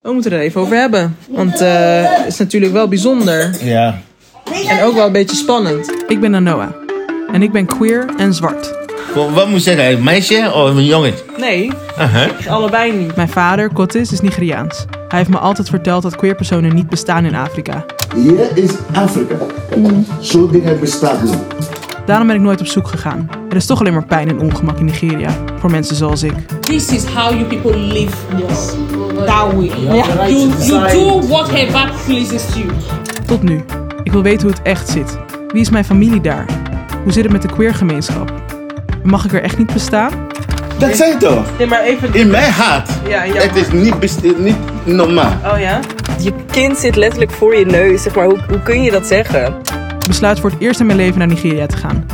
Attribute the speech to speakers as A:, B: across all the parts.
A: We moeten er even over hebben. Want eh, het is natuurlijk wel bijzonder.
B: Ja.
A: En ook wel een beetje spannend. Ik ben Anoa. En ik ben queer en zwart.
B: Wat, wat moet ik zeggen? Een meisje of een jongen?
A: Nee,
B: Aha.
A: allebei niet. Mijn vader, Kottis, is Nigeriaans. Hij heeft me altijd verteld dat queer personen niet bestaan in Afrika.
C: Hier is Afrika. Zo dingen bestaan niet.
A: Daarom ben ik nooit op zoek gegaan. Er is toch alleen maar pijn en ongemak in Nigeria. Voor mensen zoals ik.
D: this is how you people live that way. You, you do whatever pleases you.
A: Tot nu. Ik wil weten hoe het echt zit. Wie is mijn familie daar? Hoe zit het met de queergemeenschap? Mag ik er echt niet bestaan?
B: Dat zijn toch?
A: Nee, maar even...
B: In mijn hart.
A: Ja, in jouw
B: het is niet, best- niet normaal.
A: Oh ja?
E: Je kind zit letterlijk voor je neus. Zeg maar, hoe, hoe kun je dat zeggen?
A: Ik besluit voor het eerst in mijn leven naar Nigeria te gaan.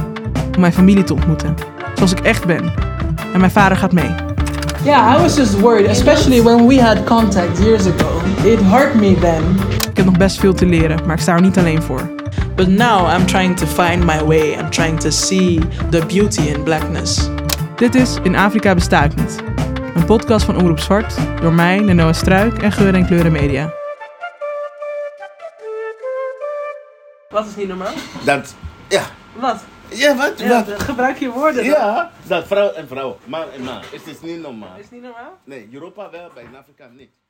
A: Om mijn familie te ontmoeten. Zoals ik echt ben. En mijn vader gaat mee.
F: Yeah, I was just worried, especially when we had contact years ago. It hurt me then.
A: Ik heb nog best veel te leren, maar ik sta er niet alleen voor.
F: But now I'm trying to find my way. I'm trying to see the beauty in blackness.
A: Dit is In Afrika besta ik niet. Een podcast van Omroep Zwart. Door mij, Noah Struik en Geur en Kleuren Media. Wat is niet normaal?
B: Dat, ja.
A: Wat?
B: Ja, wat?
A: Ja,
B: wat?
A: gebruik je woorden. dan.
B: Ja, dat vrouw en vrouw, man en man. Het is niet normaal.
A: Is niet normaal?
B: Nee, Europa wel, bij Afrika niet.